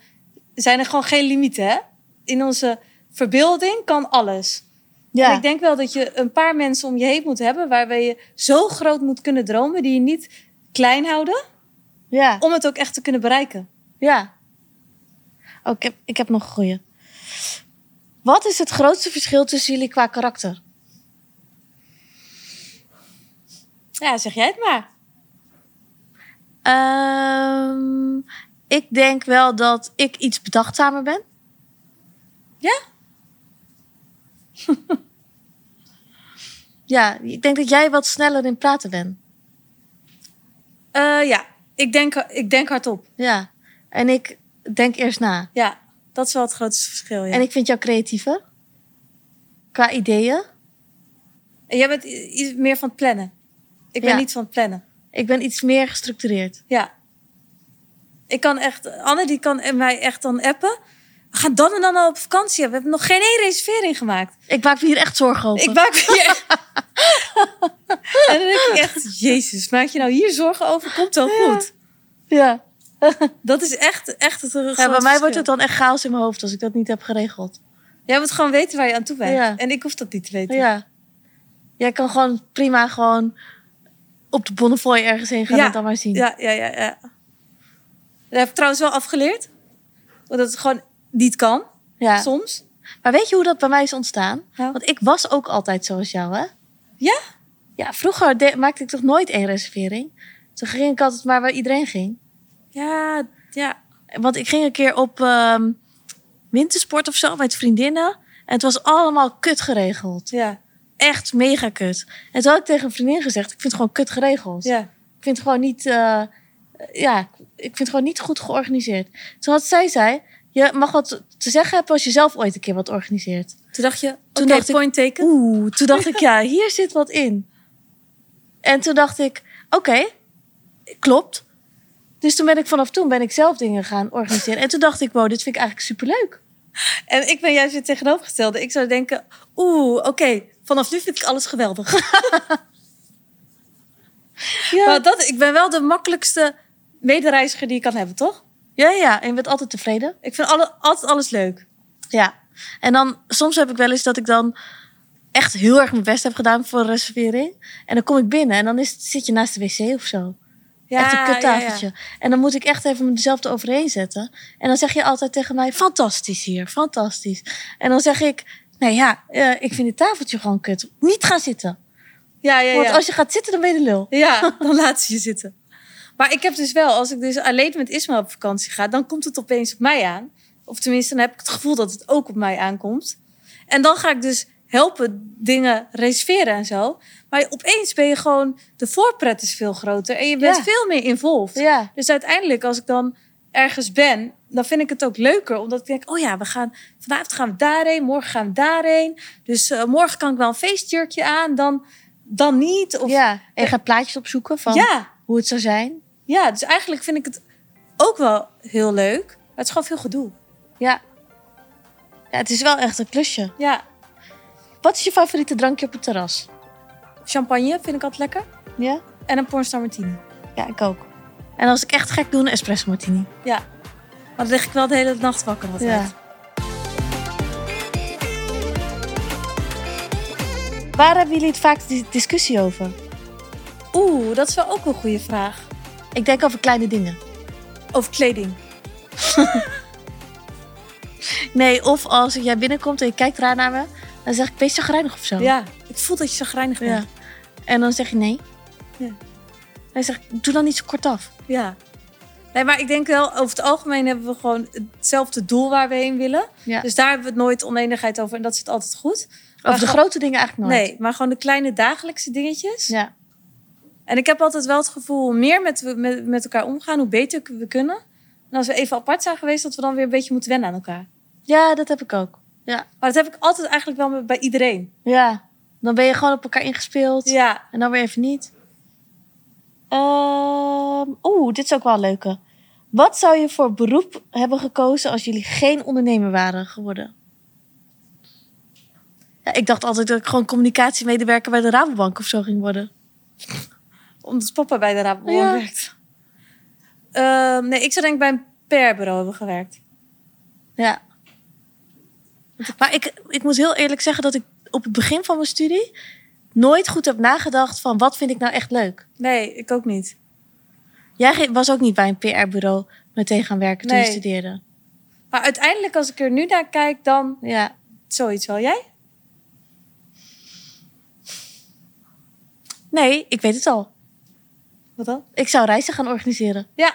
Speaker 2: zijn er gewoon geen limieten. Hè? In onze verbeelding kan alles. En ik denk wel dat je een paar mensen om je heen moet hebben waarbij je zo groot moet kunnen dromen, die je niet klein houden,
Speaker 1: ja,
Speaker 2: om het ook echt te kunnen bereiken.
Speaker 1: ja. Oh, ik, heb, ik heb nog een goeie. Wat is het grootste verschil tussen jullie qua karakter?
Speaker 2: Ja, zeg jij het maar.
Speaker 1: Ehm, ik denk wel dat ik iets bedachtzamer ben.
Speaker 2: Ja?
Speaker 1: [LAUGHS] Ja, ik denk dat jij wat sneller in praten bent.
Speaker 2: Eh, ja, ik denk, ik denk hardop.
Speaker 1: Ja. En ik denk eerst na.
Speaker 2: Ja, dat is wel het grootste verschil. Ja.
Speaker 1: En ik vind jou creatiever. Qua ideeën.
Speaker 2: En jij bent i- iets meer van het plannen. Ik ben
Speaker 1: Ja.
Speaker 2: niet van het plannen.
Speaker 1: Ik ben iets meer gestructureerd.
Speaker 2: Ja. Ik kan echt, Anne die kan mij echt dan appen. We gaan dan en dan al op vakantie. We hebben nog geen één reservering gemaakt.
Speaker 1: Ik maak me hier echt zorgen over.
Speaker 2: Ik maak me
Speaker 1: [LAUGHS]
Speaker 2: hier. en dan denk ik echt, Jezus, maak je nou hier zorgen over? Komt wel goed.
Speaker 1: Ja.
Speaker 2: Dat is echt, echt het grote
Speaker 1: ja bij mij
Speaker 2: verschil.
Speaker 1: wordt het dan echt chaos in mijn hoofd als ik dat niet heb geregeld.
Speaker 2: Jij moet gewoon weten waar je aan toe bent.
Speaker 1: Ja.
Speaker 2: En ik hoef dat niet te weten.
Speaker 1: Ja. Jij kan gewoon prima gewoon op de Bonnefoy ergens heen gaan
Speaker 2: Ja.
Speaker 1: en het dan maar zien.
Speaker 2: Ja, ja, ja, ja. Dat heb ik trouwens wel afgeleerd. Omdat het gewoon niet kan,
Speaker 1: Ja.
Speaker 2: soms.
Speaker 1: Maar weet je hoe dat bij mij is ontstaan?
Speaker 2: Nou.
Speaker 1: Want ik was ook altijd zoals jou, hè?
Speaker 2: Ja?
Speaker 1: Ja, vroeger de- maakte ik toch nooit één reservering? Toen ging ik altijd maar waar iedereen ging.
Speaker 2: Ja, ja.
Speaker 1: Want ik ging een keer op ehm, wintersport of zo met vriendinnen. En het was allemaal kut geregeld.
Speaker 2: Ja,
Speaker 1: Echt mega kut. En toen had ik tegen een vriendin gezegd, ik vind het gewoon kut geregeld.
Speaker 2: ja.
Speaker 1: Ik vind het gewoon niet, eh, ja, ik vind het gewoon niet goed georganiseerd. Toen had zij zei, je mag wat te zeggen hebben als je zelf ooit een keer wat organiseert.
Speaker 2: Toen dacht je, oké,
Speaker 1: Toen dacht ik,
Speaker 2: point taken.
Speaker 1: Oeh, toen dacht ik, [LAUGHS] ja, hier zit wat in. En toen dacht ik, oké, klopt. Dus toen ben ik vanaf toen ben ik zelf dingen gaan organiseren. En toen dacht ik, wow, dit vind ik eigenlijk superleuk.
Speaker 2: En ik ben juist weer tegenovergestelde. Ik zou denken, oeh, oké, vanaf nu vind ik alles geweldig.
Speaker 1: Ja,
Speaker 2: Maar dat, ik ben wel de makkelijkste medereiziger die je kan hebben, toch?
Speaker 1: ja, ja. En je bent altijd tevreden.
Speaker 2: Ik vind alle, altijd alles leuk.
Speaker 1: Ja. En dan, soms heb ik wel eens dat ik dan echt heel erg mijn best heb gedaan voor een reservering. En dan kom ik binnen en dan is, het- zit je naast de wc of zo. echt een kuttafeltje. En dan moet ik echt even mezelf eroverheen zetten. En dan zeg je altijd tegen mij, fantastisch hier, fantastisch. En dan zeg ik, nou ja, eh, ik vind dit tafeltje gewoon kut. Niet gaan zitten.
Speaker 2: Ja, ja, ja.
Speaker 1: Want als je gaat zitten, dan ben je de lul.
Speaker 2: Ja, [LAUGHS] dan laat ze je zitten. Maar ik heb dus wel, als ik dus alleen met Ismaël op vakantie ga, dan komt het opeens op mij aan. Of tenminste, dan heb ik het gevoel dat het ook op mij aankomt. En dan ga ik dus helpen dingen reserveren en zo. Maar opeens ben je gewoon, de voorpret is veel groter en je bent
Speaker 1: Ja.
Speaker 2: veel meer involved.
Speaker 1: Ja,
Speaker 2: Dus uiteindelijk, als ik dan ergens ben, dan vind ik het ook leuker. Omdat ik denk, oh ja, we gaan, vanavond gaan we daarheen, morgen gaan we daarheen. Dus eh, morgen kan ik wel een feestjurkje aan, dan, dan niet. Of,
Speaker 1: ja. En je gaat plaatjes opzoeken van
Speaker 2: ja,
Speaker 1: hoe het zou zijn.
Speaker 2: ja, dus eigenlijk vind ik het ook wel heel leuk. Maar het is gewoon veel gedoe.
Speaker 1: Ja. ja, het is wel echt een klusje.
Speaker 2: Ja,
Speaker 1: Wat is je favoriete drankje op het terras?
Speaker 2: champagne vind ik altijd lekker.
Speaker 1: Ja?
Speaker 2: En een pornstar martini.
Speaker 1: Ja, ik ook. En als ik echt gek doe, een espresso martini.
Speaker 2: Ja. Maar dan lig ik wel de hele nacht wakker altijd.
Speaker 1: Waar hebben jullie het vaak dis- discussie over?
Speaker 2: Oeh, dat is wel ook een goede vraag.
Speaker 1: Ik denk over kleine dingen.
Speaker 2: Over kleding.
Speaker 1: Nee, of als jij binnenkomt en je kijkt raar naar me, dan zeg ik, wees chagrijnig of zo.
Speaker 2: Ja, ik voel dat je zo grijnig
Speaker 1: Ja.
Speaker 2: bent.
Speaker 1: En dan zeg je nee.
Speaker 2: Ja.
Speaker 1: En dan zeg ik, doe dan niet zo kort af.
Speaker 2: Ja. Nee, maar ik denk wel, over het algemeen hebben we gewoon hetzelfde doel waar we heen willen.
Speaker 1: Ja.
Speaker 2: Dus daar hebben we het nooit oneenigheid over en dat zit altijd goed.
Speaker 1: over de
Speaker 2: gewoon-
Speaker 1: grote dingen eigenlijk nooit.
Speaker 2: Nee, maar gewoon de kleine dagelijkse dingetjes.
Speaker 1: Ja.
Speaker 2: En ik heb altijd wel het gevoel, hoe meer met, we- met, met elkaar omgaan, hoe beter we kunnen. En als we even apart zijn geweest, dat we dan weer een beetje moeten wennen aan elkaar.
Speaker 1: ja, dat heb ik ook. Ja.
Speaker 2: Maar dat heb ik altijd eigenlijk wel met- bij iedereen.
Speaker 1: ja. Dan ben je gewoon op elkaar ingespeeld.
Speaker 2: Ja.
Speaker 1: En dan weer even niet. Ehm Oeh, dit is ook wel een leuke. Wat zou je voor beroep hebben gekozen als jullie geen ondernemer waren geworden? Ja, ik dacht altijd dat ik gewoon communicatiemedewerker bij de Rabobank of zo ging worden.
Speaker 2: Omdat papa bij de Rabobank
Speaker 1: Oh Ja.
Speaker 2: werkt. Ehm, nee, ik zou denk ik bij een PR-bureau hebben gewerkt.
Speaker 1: Ja. Maar ik, ik moet heel eerlijk zeggen dat ik op het begin van mijn studie nooit goed heb nagedacht van wat vind ik nou echt leuk.
Speaker 2: Nee, ik ook niet.
Speaker 1: Jij ge- was ook niet bij een PR-bureau meteen gaan werken toen je
Speaker 2: Nee.
Speaker 1: studeerde.
Speaker 2: Maar uiteindelijk, als ik er nu naar kijk, dan
Speaker 1: Ja.
Speaker 2: zoiets wel. Jij?
Speaker 1: Nee, ik weet het al.
Speaker 2: Wat dan?
Speaker 1: Ik zou reizen gaan organiseren.
Speaker 2: Ja.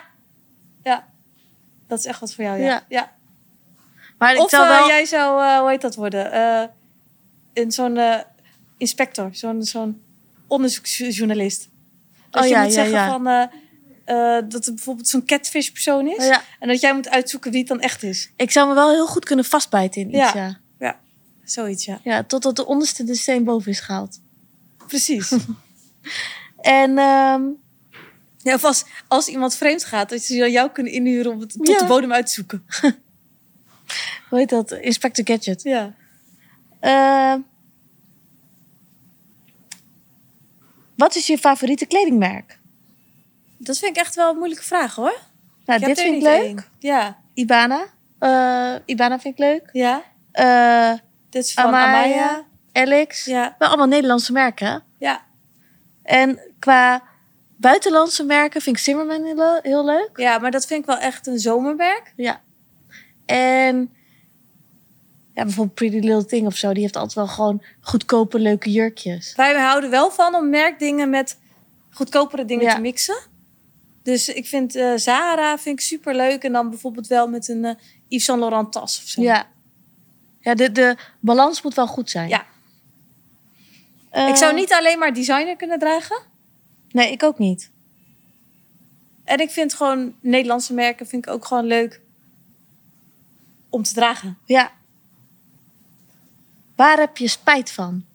Speaker 2: Ja. Dat is echt wat voor jou, ja.
Speaker 1: Ja.
Speaker 2: ja.
Speaker 1: Maar ik
Speaker 2: Of
Speaker 1: zou
Speaker 2: eh,
Speaker 1: wel...
Speaker 2: jij zou, eh, hoe heet dat worden? Eh, een zo'n eh, inspector, zo'n zo'n onderzoeksjournalist. Dat
Speaker 1: Oh,
Speaker 2: je
Speaker 1: ja,
Speaker 2: moet
Speaker 1: ja,
Speaker 2: zeggen
Speaker 1: ja.
Speaker 2: van... eh, eh, dat er bijvoorbeeld zo'n catfish persoon is.
Speaker 1: Ja.
Speaker 2: En dat jij moet uitzoeken wie het dan echt is.
Speaker 1: Ik zou me wel heel goed kunnen vastbijten in iets, ja.
Speaker 2: Ja.
Speaker 1: ja.
Speaker 2: Zoiets, ja.
Speaker 1: totdat de onderste de steen boven is gehaald.
Speaker 2: Precies. [LAUGHS]
Speaker 1: En ehm,
Speaker 2: ja, of als, als iemand vreemd gaat, dat ze dan jou kunnen inhuren om het tot
Speaker 1: Ja.
Speaker 2: de bodem uit te zoeken. [LAUGHS]
Speaker 1: hoe heet dat? Inspector Gadget.
Speaker 2: Ja.
Speaker 1: Ehm, wat is je favoriete kledingmerk?
Speaker 2: Dat vind ik echt wel een moeilijke vraag, hoor.
Speaker 1: Nou,
Speaker 2: heb
Speaker 1: dit
Speaker 2: er
Speaker 1: vind ik
Speaker 2: niet
Speaker 1: leuk.
Speaker 2: één. Ja.
Speaker 1: Ibana. Eh, Ibana vind ik leuk.
Speaker 2: Ja.
Speaker 1: Eh
Speaker 2: Dit is van
Speaker 1: Amaya.
Speaker 2: Amaya.
Speaker 1: Alex.
Speaker 2: Ja.
Speaker 1: Wel allemaal Nederlandse merken. hè?
Speaker 2: Ja.
Speaker 1: En qua buitenlandse merken vind ik Zimmerman heel le- heel leuk.
Speaker 2: Ja, maar dat vind ik wel echt een zomerwerk.
Speaker 1: Ja. En ja, bijvoorbeeld Pretty Little Thing of zo. Die heeft altijd wel gewoon goedkope, leuke jurkjes.
Speaker 2: Wij houden wel van om merkdingen met goedkopere dingen
Speaker 1: Ja.
Speaker 2: te mixen. Dus ik vind eh Zara vind ik super leuk. En dan bijvoorbeeld wel met een eh, Yves Saint Laurent tas of zo.
Speaker 1: Ja. Ja, de, de balans moet wel goed zijn.
Speaker 2: Ja.
Speaker 1: Eh,
Speaker 2: Ik zou niet alleen maar designer kunnen dragen.
Speaker 1: Nee, ik ook niet.
Speaker 2: En ik vind gewoon Nederlandse merken vind ik ook gewoon leuk om te dragen.
Speaker 1: Ja. Waar heb je spijt van?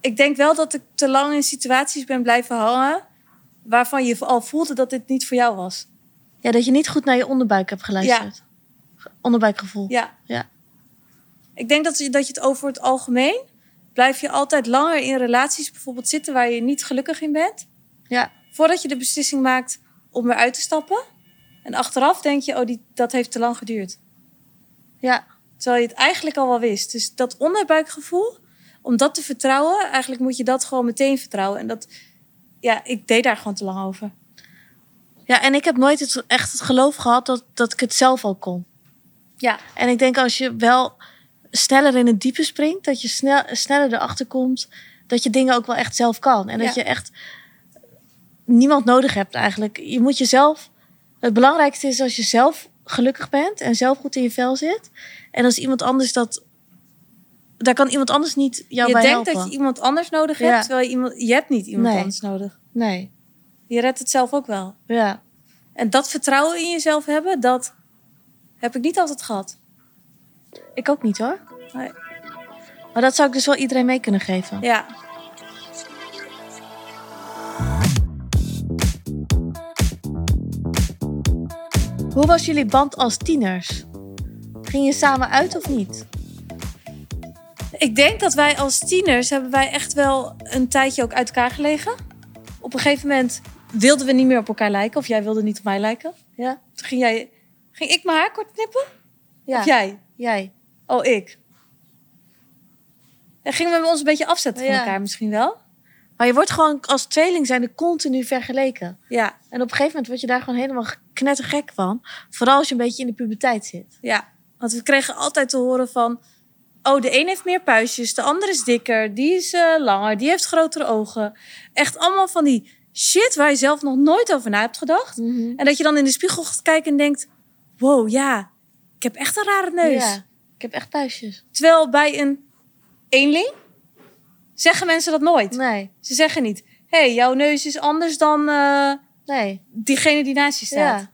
Speaker 2: Ik denk wel dat ik te lang in situaties ben blijven hangen waarvan je al voelde dat dit niet voor jou was.
Speaker 1: Ja, dat je niet goed naar je onderbuik hebt geluisterd. Onderbuikgevoel.
Speaker 2: Ja.
Speaker 1: Ja.
Speaker 2: Ik denk dat je, dat je het over het algemeen blijf je altijd langer in relaties bijvoorbeeld zitten waar je niet gelukkig in bent.
Speaker 1: Ja.
Speaker 2: Voordat je de beslissing maakt om eruit te stappen. En achteraf denk je, oh, die, dat heeft te lang geduurd.
Speaker 1: Ja.
Speaker 2: Terwijl je het eigenlijk al wel wist. Dus dat onderbuikgevoel, om dat te vertrouwen, eigenlijk moet je dat gewoon meteen vertrouwen. En dat, ja, ik deed daar gewoon te lang over.
Speaker 1: Ja, en ik heb nooit het, echt het geloof gehad dat, dat ik het zelf al kon.
Speaker 2: Ja.
Speaker 1: En ik denk als je wel sneller in het diepe springt, dat je snel, sneller erachter komt dat je dingen ook wel echt zelf kan. En dat
Speaker 2: Ja.
Speaker 1: je echt niemand nodig hebt eigenlijk. Je moet jezelf. Het belangrijkste is als je zelf gelukkig bent en zelf goed in je vel zit. En als iemand anders dat. Daar kan iemand anders niet jou
Speaker 2: je
Speaker 1: bij
Speaker 2: denkt
Speaker 1: helpen.
Speaker 2: dat je iemand anders nodig
Speaker 1: Ja.
Speaker 2: hebt, terwijl je, iemand, je hebt niet iemand
Speaker 1: Nee.
Speaker 2: anders nodig.
Speaker 1: Nee.
Speaker 2: Je redt het zelf ook wel.
Speaker 1: Ja.
Speaker 2: En dat vertrouwen in jezelf hebben, dat heb ik niet altijd gehad.
Speaker 1: Ik ook niet hoor.
Speaker 2: Nee.
Speaker 1: Maar dat zou ik dus wel iedereen mee kunnen geven.
Speaker 2: Ja.
Speaker 1: Hoe was jullie band als tieners? Ging je samen uit of niet?
Speaker 2: Ik denk dat wij als tieners hebben wij echt wel een tijdje ook uit elkaar gelegen. Op een gegeven moment wilden we niet meer op elkaar lijken. Of jij wilde niet op mij lijken.
Speaker 1: Ja.
Speaker 2: Toen ging, jij, ging ik mijn haar kort knippen?
Speaker 1: Ja.
Speaker 2: Of jij?
Speaker 1: Jij.
Speaker 2: Oh, ik. En gingen we ons een beetje afzetten van
Speaker 1: Ja.
Speaker 2: elkaar misschien wel?
Speaker 1: Maar je wordt gewoon als tweeling zijnde continu vergeleken.
Speaker 2: Ja,
Speaker 1: En op een gegeven moment word je daar gewoon helemaal knettergek van. Vooral als je een beetje in de puberteit zit.
Speaker 2: ja. Want we kregen altijd te horen van... Oh, de een heeft meer puistjes, de ander is dikker, die is eh, langer, die heeft grotere ogen. Echt allemaal van die shit waar je zelf nog nooit over na hebt gedacht.
Speaker 1: Mhm.
Speaker 2: En dat je dan in de spiegel gaat kijken en denkt: wow, ja, ik heb echt een rare neus.
Speaker 1: Ja. Ik heb echt puistjes.
Speaker 2: Terwijl bij een eenling zeggen mensen dat nooit.
Speaker 1: Nee.
Speaker 2: Ze zeggen niet: hey, jouw neus is anders dan eh,
Speaker 1: Nee.
Speaker 2: diegene die naast je staat.
Speaker 1: Ja.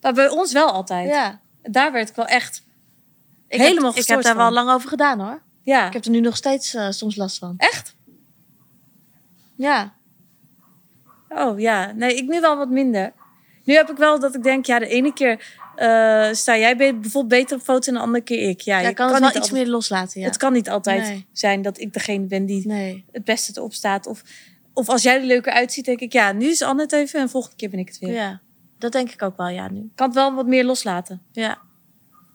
Speaker 2: Maar bij ons wel altijd.
Speaker 1: ja.
Speaker 2: Daar werd ik wel echt.
Speaker 1: Ik
Speaker 2: Helemaal
Speaker 1: heb, Ik heb
Speaker 2: gestoord
Speaker 1: daar
Speaker 2: van.
Speaker 1: wel lang over gedaan hoor.
Speaker 2: Ja,
Speaker 1: Ik heb er nu nog steeds eh, soms last van.
Speaker 2: echt?
Speaker 1: Ja.
Speaker 2: Oh ja, nee, ik nu wel wat minder. Nu heb ik wel dat ik denk, ja, de ene keer eh, sta jij be- bijvoorbeeld beter op foto en de andere keer ik. Ja,
Speaker 1: Ja,
Speaker 2: je
Speaker 1: ik kan, het wel
Speaker 2: niet
Speaker 1: iets
Speaker 2: altijd-
Speaker 1: meer loslaten, ja.
Speaker 2: Het kan niet altijd
Speaker 1: Nee.
Speaker 2: zijn dat ik degene ben die
Speaker 1: Nee.
Speaker 2: het beste erop staat. Of, of als jij er leuker uitziet, denk ik, ja, nu is Anne het even en volgende keer ben ik het weer.
Speaker 1: Ja. Dat denk ik ook wel, ja, nu.
Speaker 2: Ik kan het wel wat meer loslaten.
Speaker 1: Ja.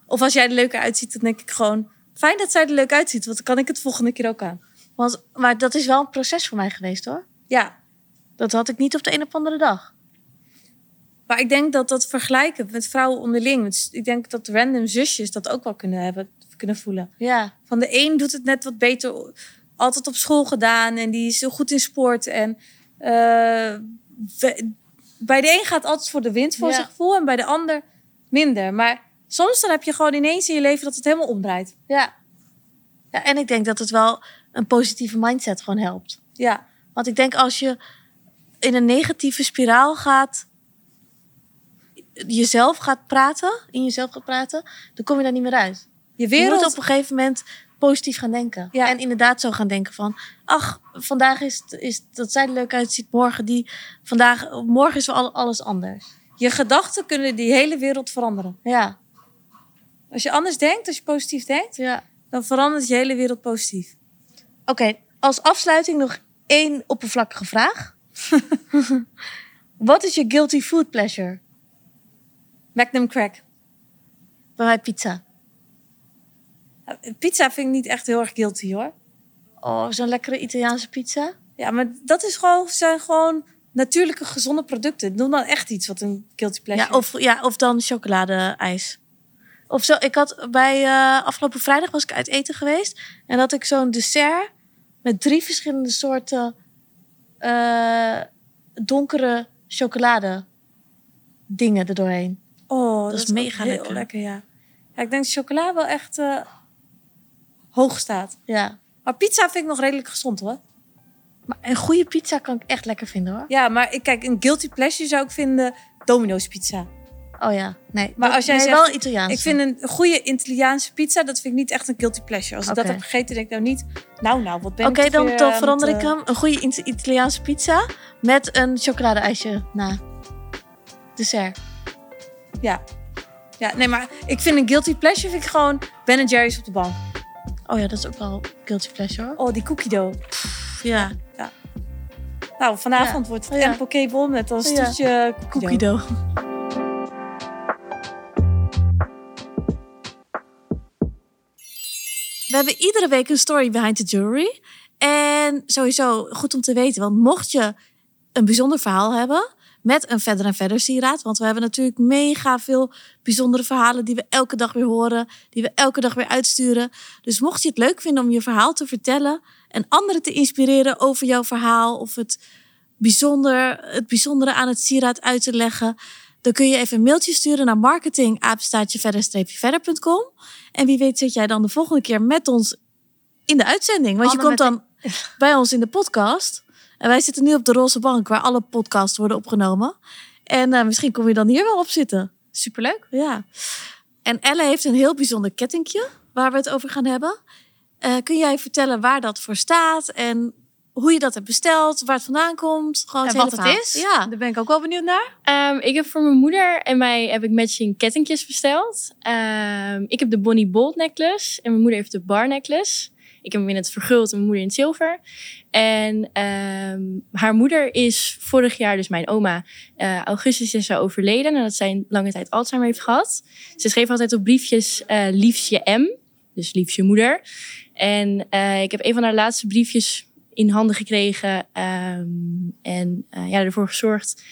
Speaker 2: Of als jij er leuker uitziet, dan denk ik gewoon... Fijn dat zij er leuk uitziet, want dan kan ik het volgende keer ook aan.
Speaker 1: Want, maar dat is wel een proces voor mij geweest, hoor.
Speaker 2: Ja,
Speaker 1: Dat had ik niet op de een of andere dag.
Speaker 2: maar ik denk dat dat vergelijken met vrouwen onderling... met- ik denk dat random zusjes dat ook wel kunnen, hebben, kunnen voelen.
Speaker 1: Ja.
Speaker 2: Van de een doet het net wat beter. Altijd op school gedaan en die is heel goed in sport. En eh, we- bij de een gaat altijd voor de wind voor
Speaker 1: Ja.
Speaker 2: zijn gevoel en bij de ander minder. Maar soms dan heb je gewoon ineens in je leven dat het helemaal omdraait.
Speaker 1: Ja. ja. En ik denk dat het wel een positieve mindset gewoon helpt.
Speaker 2: Ja,
Speaker 1: Want ik denk als je in een negatieve spiraal gaat, jezelf gaat praten, in jezelf gaat praten, dan kom je daar niet meer uit.
Speaker 2: je
Speaker 1: Je
Speaker 2: wereld.
Speaker 1: moet op een gegeven moment positief gaan denken.
Speaker 2: Ja.
Speaker 1: En inderdaad zo gaan denken van, ach, vandaag is, het- is het dat zij er leuk uitziet, morgen die, vandaag, morgen is al, alles anders.
Speaker 2: Je gedachten kunnen die hele wereld veranderen.
Speaker 1: Ja,
Speaker 2: Als je anders denkt, als je positief denkt,
Speaker 1: ja.
Speaker 2: dan verandert je hele wereld positief.
Speaker 1: Oké, als afsluiting nog één oppervlakkige [LAUGHS] vraag. Wat is je guilty food pleasure?
Speaker 2: Magnum crack.
Speaker 1: Bij mij pizza.
Speaker 2: Pizza vind ik niet echt heel erg guilty hoor.
Speaker 1: Oh, zo'n lekkere Italiaanse pizza.
Speaker 2: Ja, maar dat is gewoon, zijn gewoon natuurlijke, gezonde producten. Doe dan echt iets wat een guilty pleasure
Speaker 1: Ja
Speaker 2: is.
Speaker 1: of, ja, of dan chocolade-ijs. Of zo, ik had bij eh, afgelopen vrijdag was ik uit eten geweest. En had ik zo'n dessert met drie verschillende soorten eh, donkere chocolade dingen erdoorheen.
Speaker 2: Oh,
Speaker 1: dat is
Speaker 2: ook
Speaker 1: mega
Speaker 2: heel
Speaker 1: lekker.
Speaker 2: ja. ja. Ik denk dat chocola wel echt eh, hoog staat.
Speaker 1: Ja.
Speaker 2: Maar pizza vind ik nog redelijk gezond hoor.
Speaker 1: Maar een goede pizza kan ik echt lekker vinden hoor.
Speaker 2: Ja, maar ik, kijk, een guilty pleasure zou ik vinden Domino's pizza.
Speaker 1: Oh ja, nee.
Speaker 2: Maar als jij
Speaker 1: nee,
Speaker 2: zegt-
Speaker 1: wel Italiaans.
Speaker 2: Ik vind een goede Italiaanse pizza, dat vind ik niet echt een guilty pleasure. Als ik
Speaker 1: Oké.
Speaker 2: dat heb gegeten, denk ik nou niet, nou nou, wat ben
Speaker 1: Oké,
Speaker 2: ik toch
Speaker 1: dan,
Speaker 2: weer
Speaker 1: dan
Speaker 2: aan
Speaker 1: verander
Speaker 2: het,
Speaker 1: ik
Speaker 2: eh,
Speaker 1: hem. Een goede Ita- Italiaanse pizza met een chocolade-ijsje na. Dessert.
Speaker 2: Ja. ja, nee, maar ik vind een guilty pleasure vind ik gewoon Ben Jerry's op de bank.
Speaker 1: Oh ja, dat is ook wel guilty pleasure hoor.
Speaker 2: Oh, die cookie dough.
Speaker 1: Ja.
Speaker 2: Nou, vanavond wordt het
Speaker 1: Ja.
Speaker 2: een pokeball met als
Speaker 1: Ja.
Speaker 2: toetje eh, cookie,
Speaker 1: cookie
Speaker 2: dough.
Speaker 1: dough. We hebben iedere week een story behind the jewelry. En sowieso goed om te weten, want mocht je een bijzonder verhaal hebben met een verder en verder sieraad, want we hebben natuurlijk mega veel bijzondere verhalen die we elke dag weer horen, die we elke dag weer uitsturen. Dus mocht je het leuk vinden om je verhaal te vertellen en anderen te inspireren over jouw verhaal of het bijzonder, het bijzondere aan het sieraad uit te leggen. Dan kun je even een mailtje sturen naar marketingapenstaartjeverder-verder.com. En wie weet zit jij dan de volgende keer met ons in de uitzending. Want
Speaker 2: Anne
Speaker 1: je komt
Speaker 2: met
Speaker 1: dan bij ons in de [LAUGHS] podcast. En wij zitten nu op de roze bank waar alle podcasts worden opgenomen. En eh, misschien kom je dan hier wel op zitten.
Speaker 2: Superleuk.
Speaker 1: Ja. En Elle heeft een heel bijzonder kettingje waar we het over gaan hebben. Eh, kun jij vertellen waar dat voor staat en hoe je dat hebt besteld, waar het vandaan komt? Gewoon
Speaker 2: En
Speaker 1: hele
Speaker 2: wat het
Speaker 1: verhaal.
Speaker 2: is?
Speaker 1: Ja.
Speaker 2: Daar ben ik ook wel benieuwd naar.
Speaker 3: Ehm, ik heb voor mijn moeder en mij heb ik matching kettingjes besteld. Ehm, ik heb de Bonnie Bold necklace en mijn moeder heeft de Bar necklace. Ik heb hem in het verguld en mijn moeder in het zilver. En ehm, haar moeder is vorig jaar, dus mijn oma, eh, augustus is ze overleden. Nadat zij lange tijd Alzheimer heeft gehad. Ze schreef altijd op briefjes eh liefje M, dus liefje moeder. En eh, ik heb een van haar laatste briefjes in handen gekregen. ehm, en eh, ja, ervoor gezorgd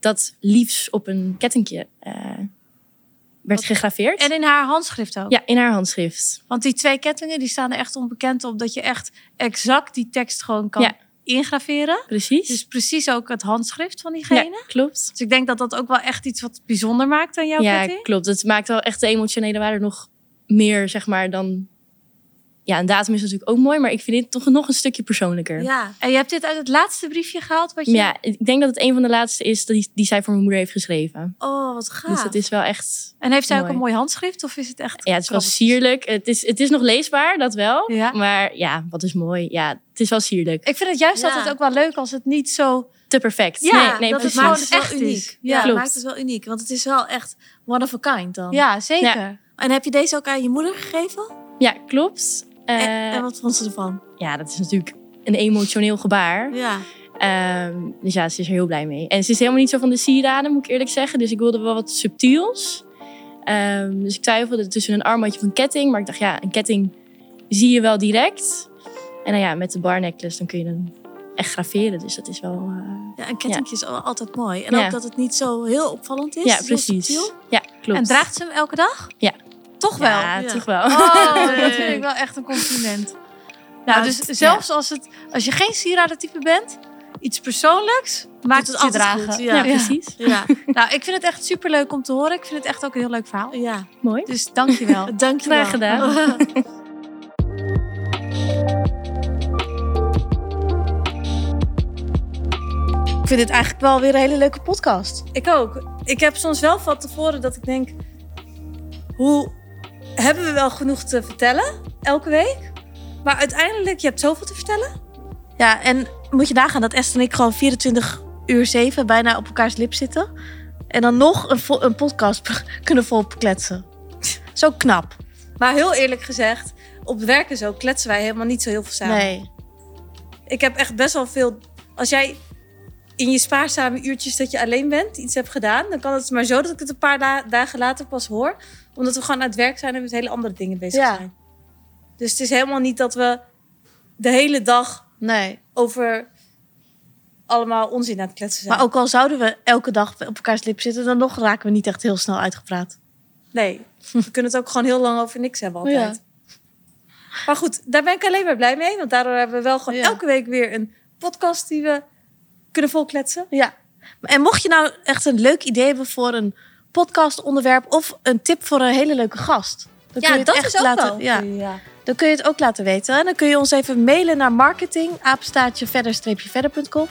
Speaker 3: dat liefs op een kettingje eh, werd gegraveerd.
Speaker 2: En in haar handschrift ook.
Speaker 3: Ja, in haar handschrift.
Speaker 2: Want die twee kettingen die staan er echt onbekend op. Dat je echt exact die tekst gewoon kan
Speaker 3: Ja.
Speaker 2: ingraveren.
Speaker 3: Precies.
Speaker 2: Dus precies ook het handschrift van diegene.
Speaker 3: ja, klopt.
Speaker 2: Dus ik denk dat dat ook wel echt iets wat bijzonder maakt aan jouw
Speaker 3: Ja,
Speaker 2: ketting.
Speaker 3: klopt. Het maakt wel echt de emotionele waarde nog meer, zeg maar, dan... Ja, een datum is natuurlijk ook mooi, maar ik vind dit toch nog een stukje persoonlijker.
Speaker 1: ja.
Speaker 2: En je hebt dit uit het laatste briefje gehaald. Wat je...
Speaker 3: Ja, ik denk dat het een van de laatste is die, die zij voor mijn moeder heeft geschreven.
Speaker 1: Oh, wat gaaf.
Speaker 3: Dus het is wel echt...
Speaker 2: En heeft zij ook
Speaker 3: Mooi.
Speaker 2: een mooi handschrift? Of is het echt...
Speaker 3: Ja, het is wel
Speaker 2: krabbeltjes?
Speaker 3: sierlijk. Het is, het is nog leesbaar, dat wel.
Speaker 2: Ja.
Speaker 3: Maar ja, wat is mooi. Ja, het is wel sierlijk.
Speaker 2: Ik vind het juist
Speaker 1: Ja.
Speaker 2: altijd ook wel leuk als het niet zo
Speaker 3: te perfect.
Speaker 1: Ja,
Speaker 3: nee, nee,
Speaker 1: dat
Speaker 3: precies.
Speaker 1: het maakt
Speaker 2: het
Speaker 1: het
Speaker 2: wel
Speaker 1: echt
Speaker 2: uniek.
Speaker 1: uniek. Ja,
Speaker 3: Klopt.
Speaker 1: maakt het wel uniek. Want het is wel echt one of a kind dan.
Speaker 2: Ja, zeker.
Speaker 1: En heb je deze ook aan je moeder gegeven?
Speaker 3: Ja, klopt. Eh,
Speaker 1: en, en wat vond ze ervan?
Speaker 3: Ja, dat is natuurlijk een emotioneel gebaar.
Speaker 1: Ja.
Speaker 3: Ehm, dus ja, ze is er heel blij mee. En ze is helemaal niet zo van de sieraden, moet ik eerlijk zeggen. Dus ik wilde wel wat subtiels. Ehm, dus ik twijfelde tussen een armbandje of een ketting. Maar ik dacht, ja, een ketting zie je wel direct. En nou ja, met de bar necklace dan kun je hem echt graveren. Dus dat is wel... eh,
Speaker 1: ja, een kettingje is al- altijd mooi. En
Speaker 3: Ja.
Speaker 1: ook dat het niet zo heel opvallend is.
Speaker 3: ja,
Speaker 1: heel
Speaker 3: precies.
Speaker 1: subtiel.
Speaker 3: Ja, klopt.
Speaker 2: En draagt ze hem elke dag?
Speaker 3: Ja.
Speaker 2: Toch wel?
Speaker 3: [LAUGHS] Ja,
Speaker 1: ja.
Speaker 3: toch wel.
Speaker 2: Oh, dat
Speaker 1: Leuk.
Speaker 2: vind ik wel echt een compliment. Nou,
Speaker 1: Nou,
Speaker 2: dus zelfs als, het, als je geen sieradentype bent, iets persoonlijks maakt
Speaker 1: het
Speaker 2: het, je
Speaker 1: altijd
Speaker 2: dragen.
Speaker 1: goed,
Speaker 3: Ja,
Speaker 1: ja.
Speaker 3: precies.
Speaker 1: Ja,
Speaker 2: Nou, ik vind het echt superleuk om te horen. Ik vind het echt ook een heel leuk verhaal.
Speaker 1: ja.
Speaker 3: Mooi.
Speaker 2: Dus
Speaker 1: [LAUGHS]
Speaker 2: dankjewel.
Speaker 1: Dank je wel.
Speaker 3: Graag gedaan.
Speaker 1: Ik vind het eigenlijk wel weer een hele leuke podcast.
Speaker 2: Ik ook. Ik heb soms wel van tevoren dat ik denk... Hoe hebben we wel genoeg te vertellen elke week? Maar uiteindelijk, je hebt zoveel te vertellen.
Speaker 1: Ja, en moet je nagaan dat Esther en ik gewoon 24 uur 7 bijna op elkaars lip zitten. En dan nog een, vo- een podcast [LAUGHS] kunnen volkletsen. Zo knap.
Speaker 2: Maar heel eerlijk gezegd, op werk en zo kletsen wij helemaal niet zo heel veel samen.
Speaker 1: Nee.
Speaker 2: Ik heb echt best wel veel... Als jij in je spaarzame uurtjes dat je alleen bent iets hebt gedaan... dan kan het maar zo dat ik het een paar da- dagen later pas hoor. Omdat we gewoon aan het werk zijn en met hele andere dingen bezig
Speaker 1: Ja.
Speaker 2: zijn. Dus het is helemaal niet dat we de hele dag
Speaker 1: Nee.
Speaker 2: over allemaal onzin aan het kletsen zijn.
Speaker 1: Maar ook al zouden we elke dag op elkaars lip zitten, dan nog raken we niet echt heel snel uitgepraat.
Speaker 2: Nee, we kunnen het ook gewoon heel lang over niks hebben altijd. Maar goed, daar ben ik alleen maar blij mee. Want daardoor hebben we wel gewoon
Speaker 1: Ja.
Speaker 2: elke week weer een podcast die we kunnen volkletsen.
Speaker 1: Ja. En mocht je nou echt een leuk idee hebben voor een podcastonderwerp of een tip voor een hele leuke gast. Dan kun je het echt laten,
Speaker 2: Ja.
Speaker 1: Ja, dan kun je het ook laten weten. En dan kun je ons even mailen naar marketing, apenstaartje verder-verder.com.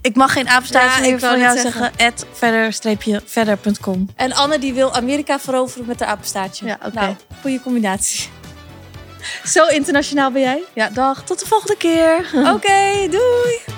Speaker 1: Ik mag geen apenstaartje
Speaker 2: Ja,
Speaker 1: meer
Speaker 2: ik wou
Speaker 1: van
Speaker 2: net
Speaker 1: jou zeggen. At verder-verder.com.
Speaker 2: En Anne die wil Amerika veroveren met haar apenstaartje.
Speaker 1: Ja, oké.
Speaker 2: Nou, goede combinatie. [LAUGHS] Zo internationaal ben jij.
Speaker 1: Ja, dag. Tot de volgende keer.
Speaker 2: Oké, doei!